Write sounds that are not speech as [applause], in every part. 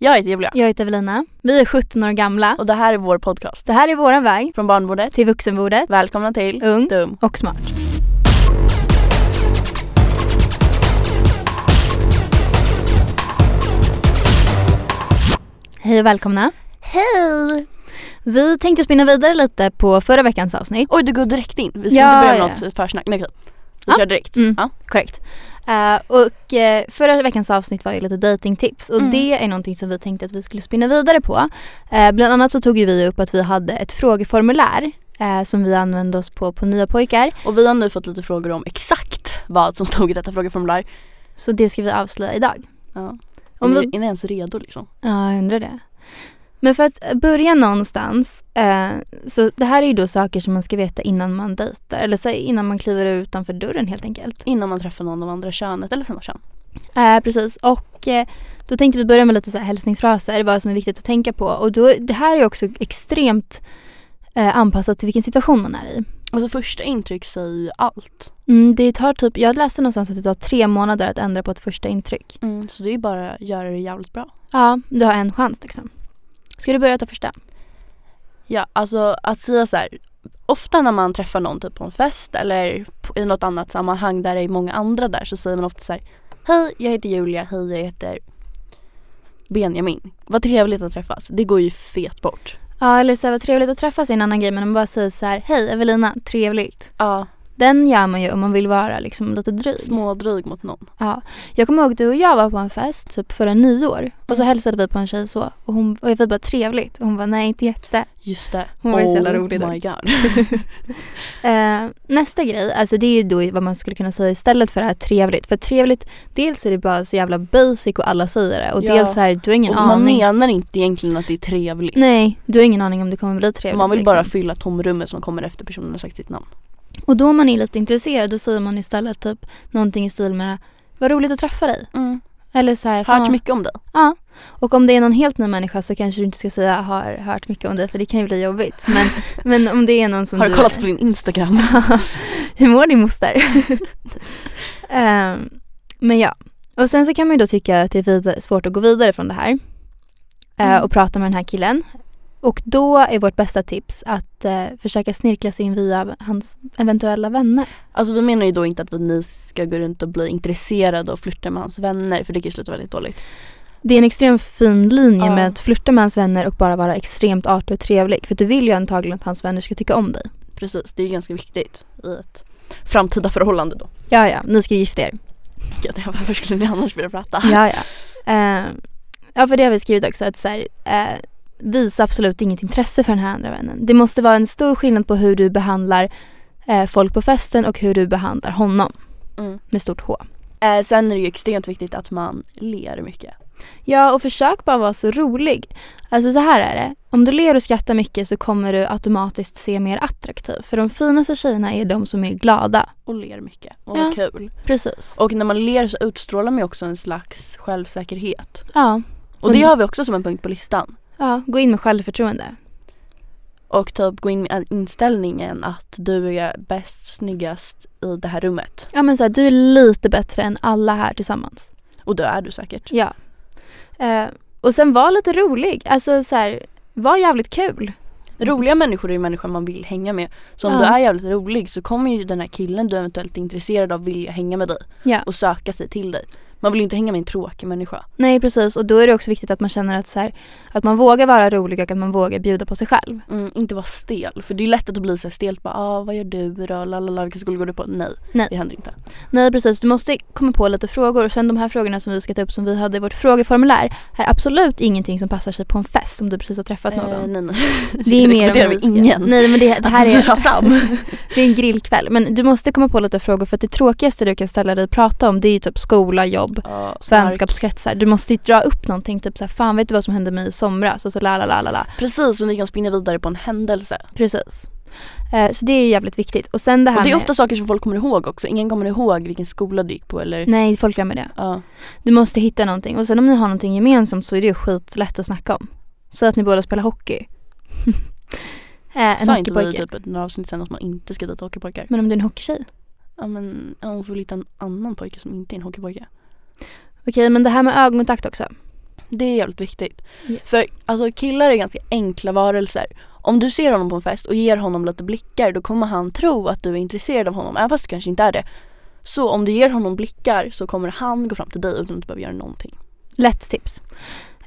Jag heter Julia Jag heter Evelina. Vi är 17 år gamla. och det här är vår podcast Det här är våran väg från barnbordet. till vuxenbordet. Välkomna till Ung Dum. och smart. Hej och välkomna. Hej! Vi tänkte spinna vidare lite på förra veckans avsnitt. Oj, du går direkt in. Vi ska Ja, inte börja ja. med något försnack. Nej, okej. Vi Ja. kör direkt. Mm. Ja. Korrekt. Eh, och eh, förra veckans avsnitt var ju lite datingtips och Mm. det är någonting som vi tänkte att vi skulle spinna vidare på. Eh, bland annat så tog ju vi upp att vi hade ett frågeformulär eh, som vi använde oss på på Nya Pojkar. Och vi har nu fått lite frågor om exakt vad som stod i detta frågeformulär. Så det ska vi avslöja idag. Ja. Om Om vi- vi... Är ni ens redo liksom? Ja, jag undrar det. Men för att börja någonstans, eh, så det här är ju då saker som man ska veta innan man dejtar, eller så här, innan man kliver utanför dörren helt enkelt. Innan man träffar någon av andra könet eller samma kön. Eh, precis, och eh, då tänkte vi börja med lite så här hälsningsfraser, vad som är viktigt att tänka på. Och då, det här är också extremt eh, anpassat till vilken situation man är i. Alltså första intryck säger ju allt. Mm, det tar typ, jag läste någonstans att det tar tre månader att ändra på ett första intryck. Så det är ju bara att göra det jävligt bra. Ja, du har en chans liksom. Ska du börja ta första? Ja, alltså att säga så här. Ofta när man träffar någon typ på en fest eller på- i något annat sammanhang där det är många andra där så säger man ofta så här. Hej, jag heter Julia. Hej, jag heter Benjamin. Vad trevligt att träffas. Det går ju fet bort. Ja, eller så här, vad trevligt att träffas är en annan grej, men om man bara säger så här, hej Evelina, trevligt. Ja, Den gör man ju om man vill vara liksom lite dryg. smådryg mot någon. Ja. Jag kommer ihåg att du och jag var på en fest typ förra nyår och så Mm. hälsade vi på en tjej så och, hon, och vi bara trevligt och hon var nej inte jätte. Just det. Hon var ju så jävla rolig Oh där. my god. Eh, nästa grej, alltså det är ju då vad man skulle kunna säga istället för det här trevligt. För trevligt, dels är det bara så jävla basic och alla säger det och Ja. dels så här du har ingen Och man aning. menar inte egentligen att det är trevligt. Nej, du har ingen aning om det kommer bli trevligt. Man vill liksom. bara fylla tomrummet som kommer efter personen har sagt sitt namn. Och då om man är lite intresserad då säger man istället typ någonting i stil med vad roligt att träffa dig. Eller så här, Jag har "Fan, hört mycket om dig. Ja. Och om det är någon helt ny människa så kanske du inte ska säga har hört mycket om dig för det kan ju bli [laughs] jobbigt. Men, men om det är någon som Har du... du kollat på din Instagram? [laughs] Hur mår [laughs] din moster? Ehm, men ja. Och sen så kan man ju då tycka att det är vid- svårt att gå vidare från det här. eh, Mm. och prata med den här killen. Och då är vårt bästa tips att eh, försöka snirkla sig in via hans eventuella vänner. Alltså vi menar ju då inte att vi, ni ska gå runt och bli intresserade och flirta med hans vänner för det kan ju sluta väldigt dåligt. Det är en extremt fin linje Ja. med att flirta med hans vänner och bara vara extremt artig och trevlig. För du vill ju antagligen att hans vänner ska tycka om dig. Precis, det är ju ganska viktigt i ett framtida förhållande då. Ja, ja, ni ska gifta er. Ja, det- [laughs] Varför skulle ni annars vilja prata? Ja, ja. Eh, ja, för det har vi skrivit också. Att så här, eh, visa absolut inget intresse för den här andra vännen. Det måste vara en stor skillnad på hur du behandlar eh, folk på festen och hur du behandlar honom. Mm. Med stort H. Eh, sen är det ju extremt viktigt att man ler mycket. Ja, och försök bara vara så rolig. Alltså så här är det. Om du ler och skrattar mycket så kommer du automatiskt se mer attraktiv. För de finaste tjejerna är de som är glada. Och ler mycket och Ja. har kul. Precis. Och när man ler så utstrålar man ju också en slags självsäkerhet. Ja, Och det Mm. har vi också som en punkt på listan. ja gå in med självförtroende. Och typ gå in med inställningen att du är bäst, snyggast i det här rummet. Ja, men så här, du är lite bättre än alla här tillsammans. Och det är du säkert. Ja. Eh, och sen var lite rolig. Alltså så här, var jävligt kul. Roliga människor är ju människor man vill hänga med. Så om Mm. Ja. du är jävligt rolig så kommer ju den här killen du eventuellt är intresserad av vilja hänga med dig. Ja. Och söka sig till dig. Man vill ju inte hänga med en tråkig människa. Nej precis och då är det också viktigt att man känner att, så här, att man vågar vara rolig och att man vågar bjuda på sig själv. Mm, inte vara stel. För det är lätt att bli så här stelt. Bara, ah, vad gör du då? Lalala, vilken skola går du på? Nej, Nej. det händer inte. Nej precis, du måste komma på lite frågor och sen de här frågorna som vi ska ta upp som vi hade i vårt frågeformulär är absolut ingenting som passar sig på en fest om du precis har träffat någon. Eh, nej, nej. det är mer om rekommenderar vi vi ska- ingen. Nej men det, det här att är, dra [laughs] fram. det är en grillkväll. Men du måste komma på lite frågor för att det tråkigaste du kan ställa dig och prata om det är ju typ skola, jobb, Ja, snark. vänskapskretsar. Du måste ju dra upp någonting, typ så här, fan vet du vad som hände mig i somras? Och så la la la la la. Precis, och ni kan spinna vidare på en händelse. Precis. Eh, så det är jävligt viktigt. Och sen det här Och det är med... ofta saker som folk kommer ihåg också. Ingen kommer ihåg vilken skola du gick på eller Nej, folk glömmer det. ja. Du måste hitta någonting. Och sen om ni har någonting gemensamt så är det ju skitlätt att snacka om. Så att ni båda spelar hockey. [laughs] eh, en Sa inte vi hockeypojke. typ ett några avsnitt sen att man inte ska dejta hockeypojkar? Men om du är en hockeytjej? Ja men ja, hon får väl hitta en annan pojke som inte är en hockeypojke. Okej, men det här med ögonkontakt också. det är jävligt viktigt. Yes. För alltså, killar är ganska enkla varelser. Om du ser honom på en fest och ger honom lite blickar då kommer han tro att du är intresserad av honom även fast du kanske inte är det. Så om du ger honom blickar så kommer han gå fram till dig utan att du behöver göra någonting. Lätt tips.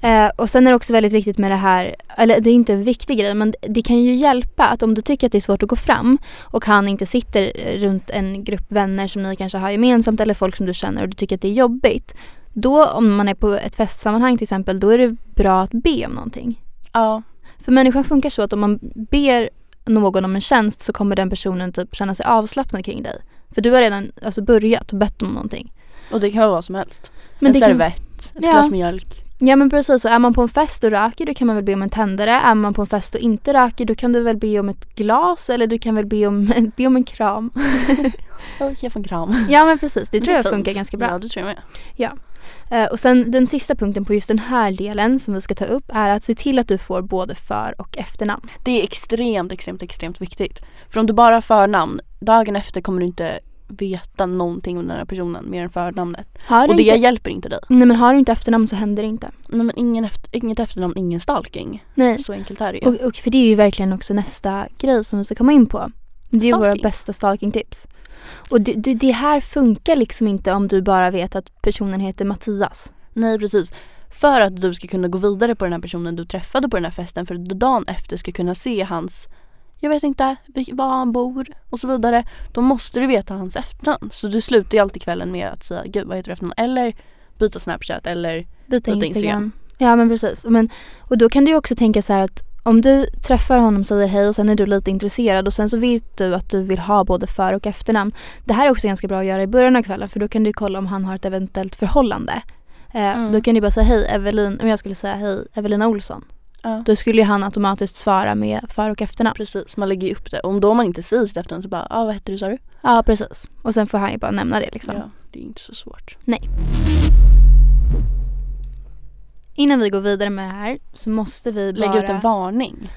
Eh, och sen är det också väldigt viktigt med det här, eller det är inte en viktig grej men det kan ju hjälpa att om du tycker att det är svårt att gå fram och han inte sitter eh, runt en grupp vänner som ni kanske har gemensamt eller folk som du känner och du tycker att det är jobbigt. Då om man är på ett festsammanhang till exempel då är det bra att be om någonting. Ja, För människan funkar så att om man ber någon om en tjänst så kommer den personen typ känna sig avslappnad kring dig. För du har redan alltså, börjat och bett om någonting. och det kan vara vad som helst. Men en det kan- servett, ett Ja. glas mjölk. Ja men precis, och är man på en fest och röker då kan man väl be om en tändare. Är man på en fest och inte röker då kan du väl be om ett glas eller du kan väl be om, be om en [laughs] kram. Hej, jag får en kram. Ja men precis, det tror är jag fint. funkar ganska bra. Ja, det tror jag med. Eh, Och sen den sista punkten på just den här delen som vi ska ta upp är att se till att du får både för och efternamn. Det är extremt, extremt, extremt viktigt. För om du bara har förnamn, dagen efter kommer du inte veta någonting om den här personen mer än förnamnet. Har Och det inte, hjälper inte dig. nej men har du inte efternamn så händer det inte. Nej, men ingen efter, inget efternamn, ingen stalking. Nej. Så enkelt är det ju. Och, och för det är ju verkligen också nästa grej som vi ska komma in på. Det är ju våra Stalking. bästa stalkingtips. Och det, det, det här funkar liksom inte om du bara vet att personen heter Mattias. Nej precis. För att du ska kunna gå vidare på den här personen du träffade på den här festen för att du dagen efter ska kunna se hans jag vet inte vil- var han bor och så vidare. Då måste du veta hans efternamn. Så du slutar ju alltid kvällen med att säga gud vad heter du i efternamn eller byta snapchat eller Byta Byta Instagram. Instagram. Ja men precis. Men, och då kan du ju också tänka så här att om du träffar honom, säger hej och sen är du lite intresserad och sen så vet du att du vill ha både för och efternamn. Det här är också ganska bra att göra i början av kvällen för då kan du kolla om han har ett eventuellt förhållande. Eh, Mm. Då kan du bara säga hej Evelin, om jag skulle säga hej Evelina Olsson. ja. Då skulle ju han automatiskt svara med för och efternamn. Precis, man lägger ju upp det. Och om då man inte säger sitt efternamn så bara, ah, vad heter du sa du? Ja precis. Och sen får han ju bara nämna det liksom. Ja, det är inte så svårt. Innan vi går vidare med det här så måste vi bara... Lägg ut en varning.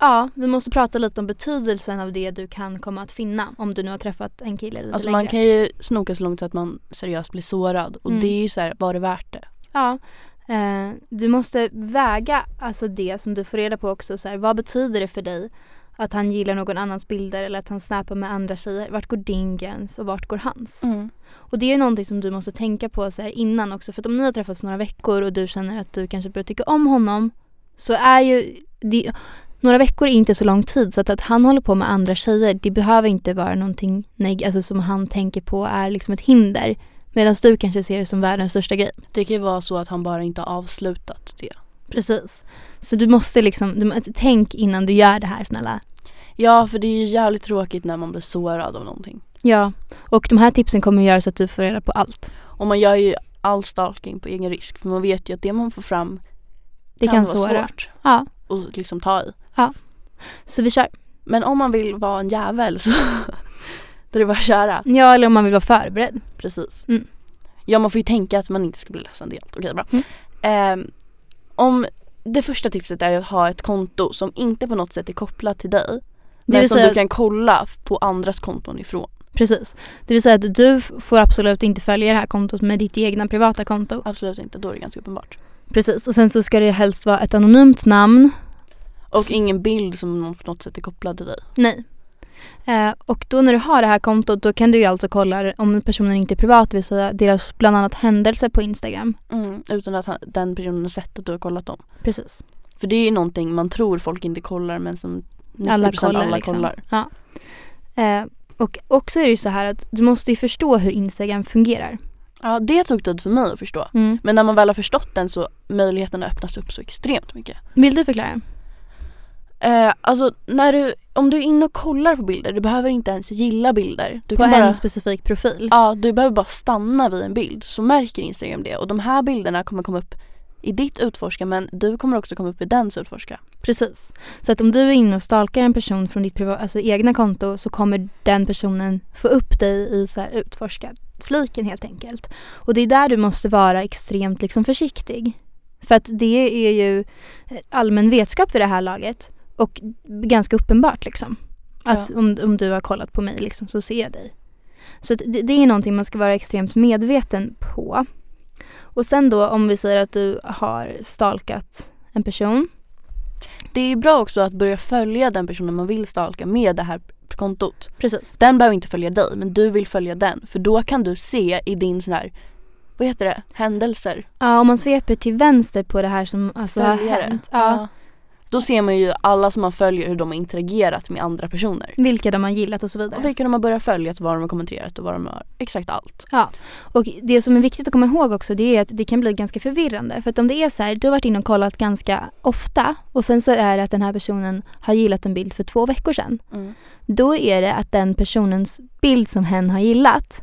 Ja, vi måste prata lite om betydelsen av det du kan komma att finna om du nu har träffat en kille lite Alltså längre. man kan ju snoka så långt att man seriöst blir sårad. Och Mm. det är ju så här, var det värt det? Ja. Eh, du måste väga alltså det som du får reda på också. Så här, vad betyder det för dig att han gillar någon annans bilder eller att han snappar med andra tjejer? Vart går din gräns och vart går hans? Och det är någonting som du måste tänka på så här innan också. För att om ni har träffats några veckor och du känner att du kanske börjar tycka om honom så är ju det, några veckor är inte så lång tid så att, att han håller på med andra tjejer det behöver inte vara någonting neg- alltså, som han tänker på är liksom ett hinder. Medan du kanske ser det som världens största grej. Det kan ju vara så att han bara inte har avslutat det. Precis. Så du måste liksom, du, må- tänk innan du gör det här snälla. Ja, för det är ju jävligt tråkigt när man blir sårad av någonting. Ja. Och de här tipsen kommer göra så att du får reda på allt. Och man gör ju all stalking på egen risk för man vet ju att det man får fram Det kan, vara såra. svårt Ja. att liksom ta i. Så vi kör. Men om man vill vara en jävel så [laughs] då är det bara att köra. Ja, eller om man vill vara förberedd. Precis. Mm. Ja, man får ju tänka att man inte ska bli ledsen. Det är allt. Okej, bra. Ehm, om det första tipset är att ha ett konto som inte på något sätt är kopplat till dig. Det Men vill som säga, du kan kolla på andras konton ifrån. precis. Det vill säga att du f- får absolut inte följa det här kontot med ditt egna privata konto. Absolut inte, då är det ganska uppenbart. Precis, och sen så ska det helst vara ett anonymt namn. Och Så- ingen bild som någon på något sätt är kopplad till dig. Nej. Eh, och då när du har det här kontot då kan du ju alltså kolla om personen inte är privat, det vill säga deras bland annat händelser på Instagram. Utan att han, den personen har sett att du har kollat dem. Precis. För det är ju någonting man tror folk inte kollar men som 90% alla alla kollar. kollar. liksom. Ja. Eh, och också är det ju så här att du måste ju förstå hur Instagram fungerar. Ja, det tog tid för mig att förstå. Mm. Men när man väl har förstått den så möjligheten öppnas upp så extremt mycket. Vill du förklara? Eh, alltså när du, om du är inne och kollar på bilder, du behöver inte ens gilla bilder. Du På bara, en specifik profil? Ja, du behöver bara stanna vid en bild så märker Instagram det. Och de här bilderna kommer komma upp i ditt utforska men du kommer också komma upp i dens utforska. Precis. Så att om du är inne och stalkar en person från ditt priva- alltså egna konto så kommer den personen få upp dig i så här utforskarfliken helt enkelt. Och det är där du måste vara extremt liksom försiktig. För att det är ju eh, allmän vetskap vid det här laget och ganska uppenbart liksom. Att om, om du har kollat på mig liksom, så ser jag dig. Så att det, det är någonting man ska vara extremt medveten på. Och Och sen då om vi säger att du har stalkat en person. Det är bra också att börja följa den personen man vill stalka med det här kontot. Precis. Den behöver inte följa dig men du vill följa den för då kan du se i din sån här, vad heter det, händelser. Ja, om man sveper till vänster på det här som alltså, har Följare. hänt. Ja. Då ser man ju alla som man följer hur de har interagerat med andra personer. Vilka de har gillat och så vidare. Och vilka de har börjat följa, vad de har kommenterat och vad de har, exakt allt. Och det som är viktigt att komma ihåg också det är att det kan bli ganska förvirrande. För att om det är så här, du har varit inne och kollat ganska ofta och sen så är det att den här personen har gillat en bild för två veckor sedan. Då är det att den personens bild som hen har gillat.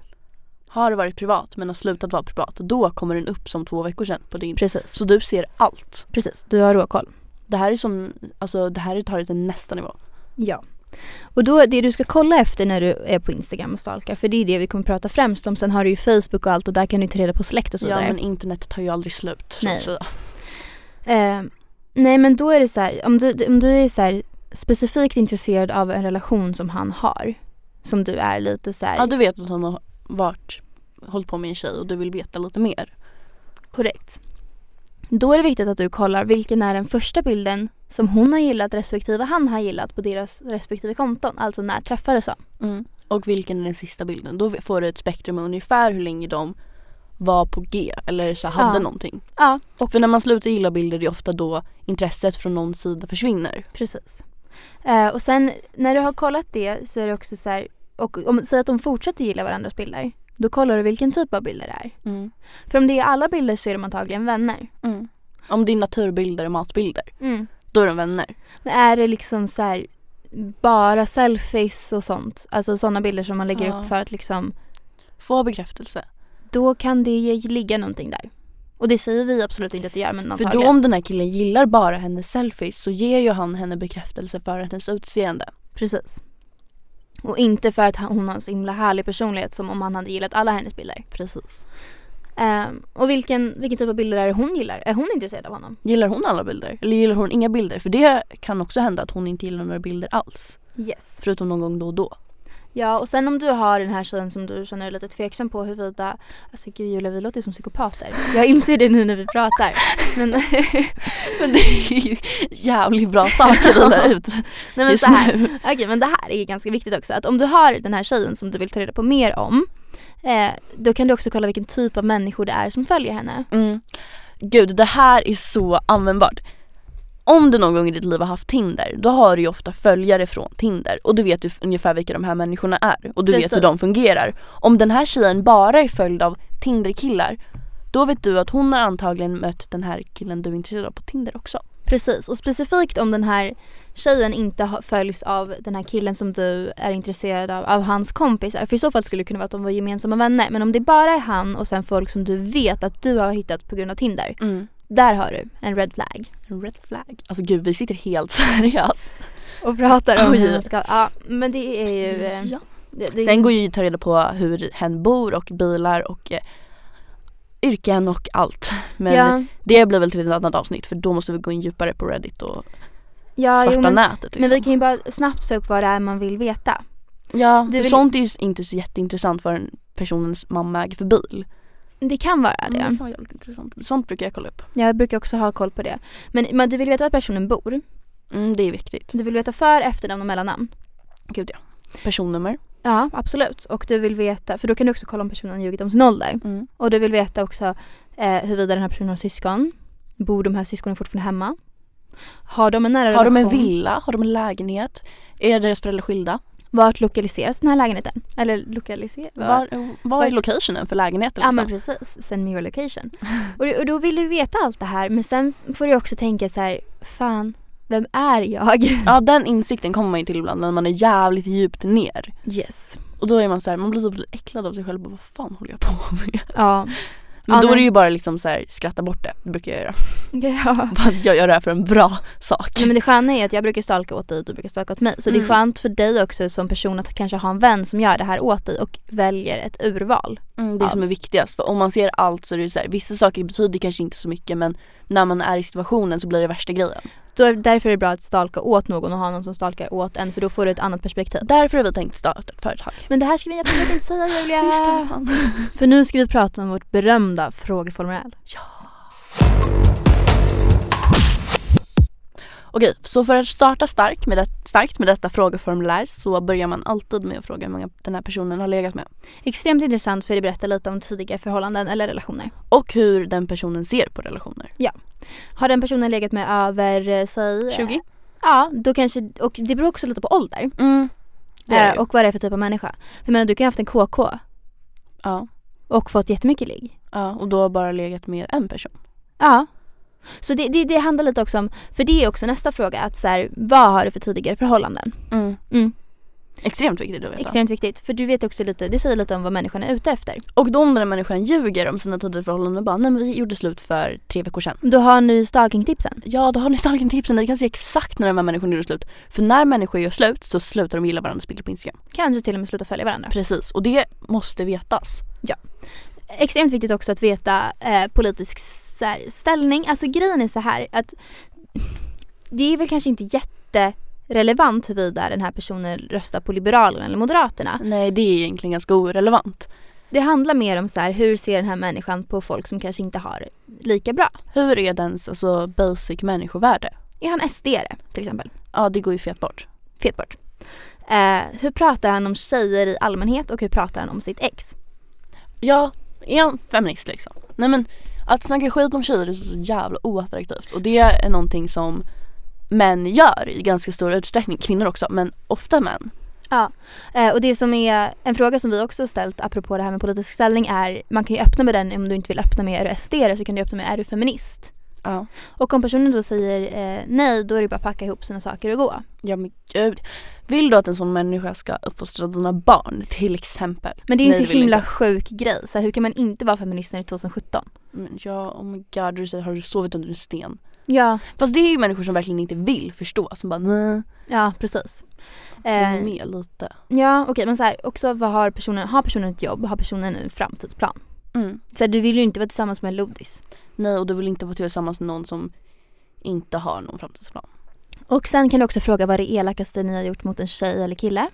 Har det varit privat men har slutat vara privat, då kommer den upp som två veckor sedan på din. Precis. Så du ser allt. Precis, du har råkoll. Det här är som, alltså det här tar det till nästa nivå. Ja. Och då det du ska kolla efter när du är på Instagram och stalkar, för det är det vi kommer prata främst om. Sen har du ju Facebook och allt och där kan du ta reda på släkt och så Ja vidare. men internet tar ju aldrig slut så Nej. att säga. Eh, nej men då är det så här, om du, om du är så här specifikt intresserad av en relation som han har. Som du är lite så här. Ja du vet att han har varit, hållit på med en tjej och du vill veta lite mer. Korrekt. Då är det viktigt att du kollar vilken är den första bilden som hon har gillat respektive han har gillat på deras respektive konton. Alltså när träffades de? Och vilken är den sista bilden? Då får du ett spektrum av ungefär hur länge de var på G eller så hade Ja. någonting. Ja, För när man slutar gilla bilder det är ofta då intresset från någon sida försvinner. Precis. Eh, och sen när du har kollat det så är det också så här, och om, säg att de fortsätter gilla varandras bilder. Då kollar du vilken typ av bilder det är. För om det är alla bilder så är de antagligen vänner. Mm. Om det är naturbilder och matbilder, då är de vänner. Men är det liksom så här bara selfies och sånt, alltså sådana bilder som man lägger Ja. upp för att liksom, Få bekräftelse. då kan det ge- ligga någonting där. Och det säger vi absolut inte att det gör men För antagligen. då om den här killen gillar bara hennes selfies så ger ju han henne bekräftelse för hennes utseende. Precis. Och inte för att han- hon har en så himla härlig personlighet som om han hade gillat alla hennes bilder. Precis. Ehm, och vilken, vilken typ av bilder är det hon gillar? Är hon intresserad av honom? Gillar hon alla bilder? Eller gillar hon inga bilder? För det kan också hända att hon inte gillar några bilder alls. Yes. Förutom någon gång då och då. Ja, och sen om du har den här tjejen som du känner dig lite tveksam på huruvida... Alltså gud Julia, vi låter som psykopater. Jag inser det nu när vi pratar. Men, Men det är ju jävligt bra [laughs] saker vi lär ut nej men just så här. nu. Okej, men det här är ganska viktigt också. Att om du har den här tjejen som du vill ta reda på mer om eh, då kan du också kolla vilken typ av människor det är som följer henne. Mm. Gud, det här är så användbart. Om du någon gång i ditt liv har haft Tinder, då har du ju ofta följare från Tinder och du vet ju ungefär vilka de här människorna är och du vet hur Precis. de fungerar. Om den här tjejen bara är följd av Tinderkillar, då vet du att hon har antagligen mött den här killen du är intresserad av på Tinder också. Precis, och specifikt om den här tjejen inte har- följs av den här killen som du är intresserad av, av hans kompisar. För i så fall skulle det kunna vara att de var gemensamma vänner. Men om det bara är han och sen folk som du vet att du har hittat på grund av Tinder. Där har du en red flag. Red flag. Alltså gud, vi sitter helt [laughs] seriöst. Och pratar om Oj. hur man ska... Ja, men det är ju... eh, Det, det, Mm, Sen går ju att ta reda på hur hen bor och bilar och eh, yrken och allt. Men ja, Det blir väl till ett annat avsnitt för då måste vi gå in djupare på Reddit och ja, svarta jo, men, nätet. Liksom. men vi kan ju bara snabbt ta upp vad det är man vill veta. ja, du för vill- sånt är ju inte så jätteintressant för en personens mamma äger för bil. Det kan vara det. kan vara jävligt intressant. Sånt brukar jag kolla upp. Jag brukar också ha koll på det. Men, men du vill veta var personen bor. Mm, det är viktigt. Du vill veta för, efternamn och mellannamn. Gud ja. Personnummer. Ja, absolut. Och du vill veta, för då kan du också kolla om personen har ljugit om sin ålder. Mm. Och du vill veta också eh, huruvida den här personen har syskon. Bor de här syskonen fortfarande hemma? Har de en nära Har relation? de en villa? Har de en lägenhet? Är deras föräldrar skilda? Vart lokaliseras den här lägenheten? Eller lokaliseras? Var, var är Vart- locationen för lägenheten? Ja Liksom? men precis, send me your location. [laughs] och, och då vill du veta allt det här men sen får du också tänka så här, fan, vem är jag? [laughs] ja, den insikten kommer man ju till ibland när man är jävligt djupt ner. Yes. Och då är man så här, man blir så lite äcklad av sig själv. Bara, Vad fan håller jag på med? Ja. Men Ja, då är nej. det ju bara liksom så här, skratta bort det. Det brukar jag göra. ja. Bara, jag gör det här för en bra sak. Nej, men det sköna är att jag brukar stalka åt dig och du brukar stalka åt mig. Så det Mm. är skönt för dig också som person att kanske ha en vän som gör det här åt dig och väljer ett urval. Mm, det är Ja. som är viktigast. För om man ser allt så är det ju så här, vissa saker betyder kanske inte så mycket men när man är i situationen så blir det värsta grejen. Då, därför är det bra att stalka åt någon och ha någon som stalkar åt en för då får du ett annat perspektiv. Därför har vi tänkt starta ett företag. Men det här ska vi absolut inte säga [laughs] Julia. Just det, fan. För nu ska vi prata om vårt berömda frågeformulär. Okej, så för att starta stark med det, starkt med detta frågeformulär så börjar man alltid med att fråga hur många den här personen har legat med. Extremt intressant för det berättar lite om tidiga förhållanden eller relationer. Och hur den personen ser på relationer. Har den personen legat med över, eh, säg... 20? Ja, då kanske, och det beror också lite på ålder. Mm. Det är det Eh, ju. och vad det är för typ av människa. Jag menar du kan ju ha haft en KK Ja, och fått jättemycket ligg. ja, och då har bara legat med en person. Ja. Så det, det, det handlar lite också om, för det är också nästa fråga, att så här, vad har du för tidigare förhållanden? Mm. Extremt viktigt att veta. Extremt viktigt, för du vet också lite, det säger lite om vad människan är ute efter. Och då om den här människan ljuger om sina tidigare förhållanden och bara nej men vi gjorde slut för tre veckor sedan. Du har nu stalkingtipsen. Ja då har ni tagit tipsen, ni kan se exakt när de här människorna gjorde slut. För när människor gör slut så slutar de gilla varandras bilder på Instagram. Kanske till och med sluta följa varandra. Precis, och det måste vetas. Extremt viktigt också att veta eh, politisk så här, ställning. Alltså grejen är så här att det är väl kanske inte jätterelevant huruvida den här personen röstar på Liberalerna eller Moderaterna. Nej det är egentligen ganska irrelevant. Det handlar mer om så här, hur ser den här människan på folk som kanske inte har lika bra? Hur är dens alltså, basic människovärde? Är han SD-are till exempel? Ja det går ju fet bort. Fetbart. Eh, hur pratar han om tjejer i allmänhet och hur pratar han om sitt ex? Ja, är han feminist liksom? Nej men att snacka skit om tjejer är så jävla oattraktivt och det är någonting som män gör i ganska stor utsträckning, kvinnor också men ofta män. Eh, och det som är en fråga som vi också har ställt apropå det här med politisk ställning är man kan ju öppna med den om du inte vill öppna med är du SD-are så kan du öppna med är du feminist? Ja. Och om personen då säger eh, nej då är det bara att packa ihop sina saker och gå. Ja men gud. Vill du att en sån människa ska uppfostra dina barn till exempel? Men det är ju Nej, en det så vill himla jag sjuk grej. Så här, hur kan man inte vara feminist när det är 2017? Men ja, oh my god, du säger, har du sovit under en sten? Ja, Fast det är ju människor som verkligen inte vill förstå som bara nej, ja precis. häng Eh, med lite. ja okej men så här, också vad har personen, har personen ett jobb? Har personen en framtidsplan? Mm. Så här, du vill ju inte vara tillsammans med en lodis. Nej och du vill inte vara tillsammans med någon som inte har någon framtidsplan. Och sen kan du också fråga vad det elakaste ni har gjort mot en tjej eller kille.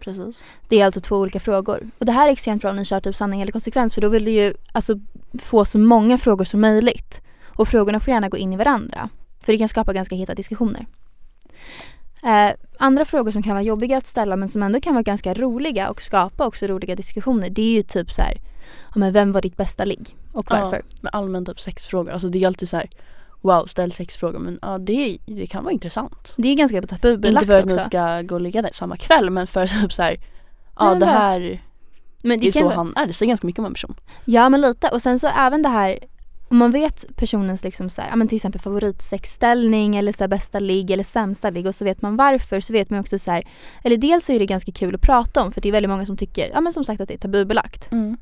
Precis. Det är alltså två olika frågor. Och det här är extremt bra om ni kör typ sanning eller konsekvens för då vill du ju alltså, få så många frågor som möjligt. Och frågorna får gärna gå in i varandra. För det kan skapa ganska heta diskussioner. Eh, andra frågor som kan vara jobbiga att ställa men som ändå kan vara ganska roliga och skapa också roliga diskussioner det är ju typ så här, ja, men vem var ditt bästa ligg och Ja. varför? Men allmänt typ sexfrågor, alltså det är alltid så här wow ställ sexfrågor men ja det, det kan vara intressant. Det är ganska tabubelagt inte för att också. ni ska gå och ligga där samma kväll men för [laughs] typ så här ja Nej, det men- här Men det är kan så vara- han är, det säger ganska mycket om en person. Ja men lite och sen så även det här om man vet personens liksom så här, ja, men till exempel favoritsexställning eller så här bästa ligg eller sämsta ligg och så vet man varför så vet man också så här, eller dels så är det ganska kul att prata om för det är väldigt många som tycker, ja men som sagt att det är tabubelagt. Mm.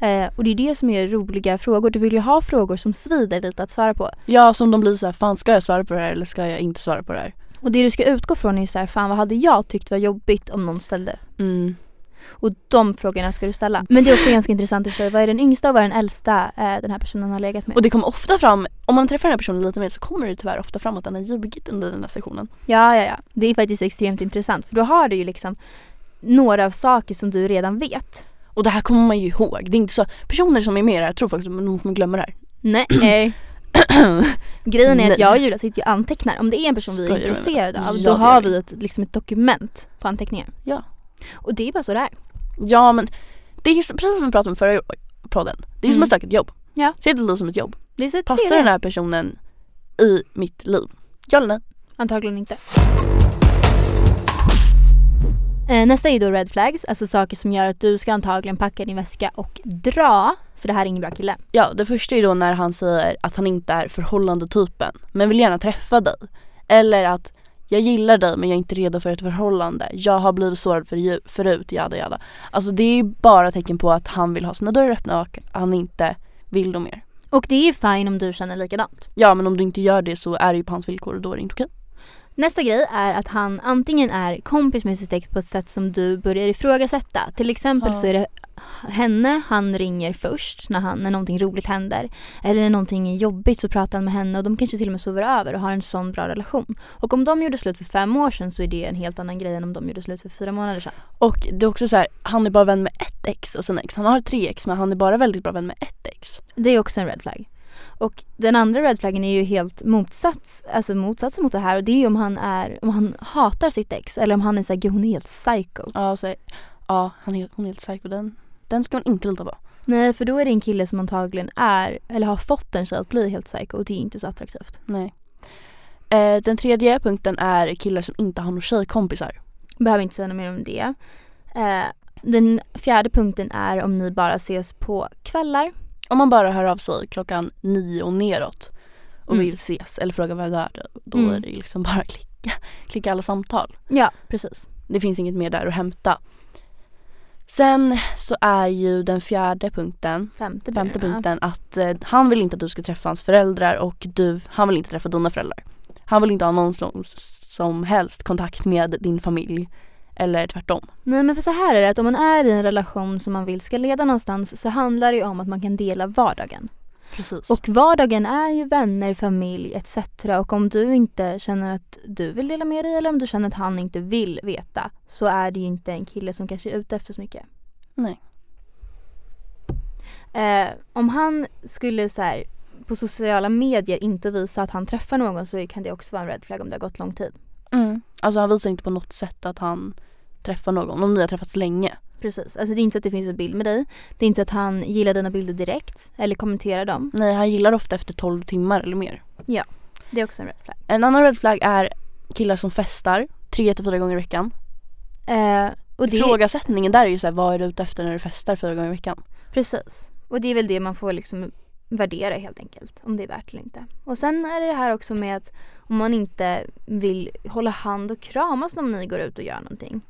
Eh, och det är det som är roliga frågor, du vill ju ha frågor som svider lite att svara på. Ja, som de blir så här, fan ska jag svara på det här eller ska jag inte svara på det här? Och det du ska utgå från är ju så här, fan vad hade jag tyckt var jobbigt om någon ställde? Mm. Och de frågorna ska du ställa. Men det är också ganska [laughs] intressant i sig, vad är den yngsta och vad är den äldsta eh, den här personen har legat med? Och det kommer ofta fram, om man träffar den här personen lite mer så kommer det tyvärr ofta fram att den har ljugit under den här sessionen. Ja, ja, ja. Det är faktiskt extremt intressant för då har du ju liksom några av saker som du redan vet. Och det här kommer man ju ihåg. Det är inte så personer som är med i det här tror faktiskt att de kommer glömma det här. Nej. [clears throat] Grejen är Nej. att jag och Julia sitter ju och antecknar. Om det är en person vi Skojar är du med mig? intresserade av Ja, då det har gör vi ju ett, liksom ett dokument på anteckningar. Ja. Och det är bara så det är. Ja men det är så- precis som vi pratade om förra podden. Det är som Mm. ett stökigt jobb. Ja. Se det lite som ett jobb. Det är så ett Passar CV. den här personen i mitt liv? Ja eller nej? Antagligen inte. Eh, Nästa är då red flags, alltså saker som gör att du ska antagligen packa din väska och dra. För det här är ingen bra kille. Ja, det första är då när han säger att han inte är förhållandetypen men vill gärna träffa dig. Eller att jag gillar dig men jag är inte redo för ett förhållande. Jag har blivit sårad för ju- förut, jada jada. Alltså det är bara tecken på att han vill ha sina dörrar öppna och han inte vill dem mer. Och det är ju fine om du känner likadant. Ja men om du inte gör det så är det ju på hans villkor och då är det inte okej. Nästa grej är att han antingen är kompis med sitt ex på ett sätt som du börjar ifrågasätta. Till exempel Ja. så är det henne. Han ringer först när, han, när någonting roligt händer. Eller när någonting är jobbigt så pratar han med henne och de kanske till och med sover över och har en sån bra relation. Och om de gjorde slut för fem år sedan så är det en helt annan grej än om de gjorde slut för fyra månader sedan. Och det är också så här, han är bara vän med ett ex och sina ex. Han har tre ex men han är bara väldigt bra vän med ett ex. Det är också en red flag. Och den andra red flaggen är ju helt motsats, alltså motsatsen mot det här och det är ju om han, är, om han hatar sitt ex eller om han är såhär, gud hon är helt psycho. Ja, och så, ja han är, hon är helt psycho. Den, den ska man inte lita på. Nej för då är det en kille som antagligen är, eller har fått en tjej att bli helt psycho och det är inte så attraktivt. Nej. Eh, den tredje punkten är killar som inte har några tjejkompisar. Behöver inte säga något mer om det. Eh, den fjärde punkten är om ni bara ses på kvällar. Om man bara hör av sig klockan nio och neråt och Mm. vill ses eller fråga vad är det, då Mm. är det ju liksom [laughs] bara att klicka, klicka alla samtal. Ja precis. Det finns inget mer där att hämta. Sen så är ju den fjärde punkten, Femte, femte blir det, va? punkten att eh, han vill inte att du ska träffa hans föräldrar och du, han vill inte träffa dina föräldrar. Han vill inte ha någon som, som helst kontakt med din familj eller tvärtom. Nej men för så här är det att om man är i en relation som man vill ska leda någonstans så handlar det ju om att man kan dela vardagen. Precis. Och Och vardagen är ju vänner, familj etc. Och om du inte känner att du vill dela med dig eller om du känner att han inte vill veta så är det ju inte en kille som kanske är ute efter så mycket. Nej. Eh, om han skulle så här, på sociala medier inte visa att han träffar någon så kan det också vara en red flag om det har gått lång tid. mm. Alltså han visar inte på något sätt att han träffar någon, om ni har träffats länge. Precis, alltså det är inte så att det finns en bild med dig. Det är inte så att han gillar dina bilder direkt eller kommenterar dem. Nej, han gillar ofta efter 12 timmar eller mer. Det är också en red flag. En annan red flag är killar som festar tre till fyra gånger i veckan. Eh, och det, Ifrågasättningen där är ju såhär, vad är du ute efter när du festar fyra gånger i veckan? Precis. Och det är väl det man får liksom värdera helt enkelt. Om det är värt eller inte. Och sen är det det här också med att om man inte vill hålla hand och kramas när ni går ut och gör någonting.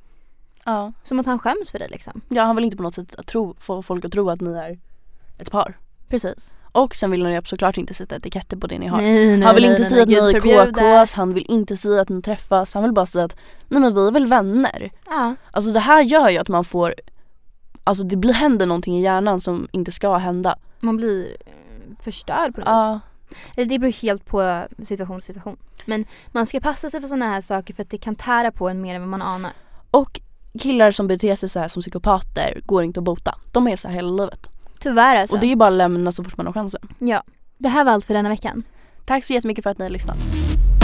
Ja. Som att han skäms för dig liksom. Ja, han vill inte på något sätt att tro, få folk att tro att ni är ett par. Precis. Och sen vill han ju såklart inte sätta etiketter på det ni har. Nej, nej, han vill nej, inte nej, säga att ni nej, är Gud förbjude. KKs, han vill inte säga att ni träffas, han vill bara säga att nej men vi är väl vänner. Ja, Alltså det här gör ju att man får, alltså det blir, händer någonting i hjärnan som inte ska hända. Alltså, man blir eh, förstörd på något vis. Ja, Eller det beror helt på situation till situation. Men man ska passa sig för sådana här saker för att det kan tära på en mer än vad man anar. Och killar som beter sig så här som psykopater går inte att bota. De är så här hela livet. Tyvärr alltså. Och det är ju bara att lämna så fort man har chansen. Ja. Det här var allt för denna veckan. Tack så jättemycket för att ni har lyssnat.